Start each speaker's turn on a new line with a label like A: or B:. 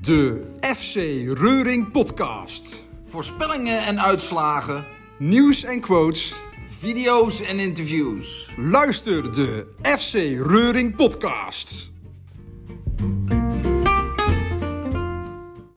A: De FC Reuring Podcast.
B: Voorspellingen en uitslagen,
A: Nieuws en quotes.
B: video's en interviews.
A: Luister de FC Reuring Podcast.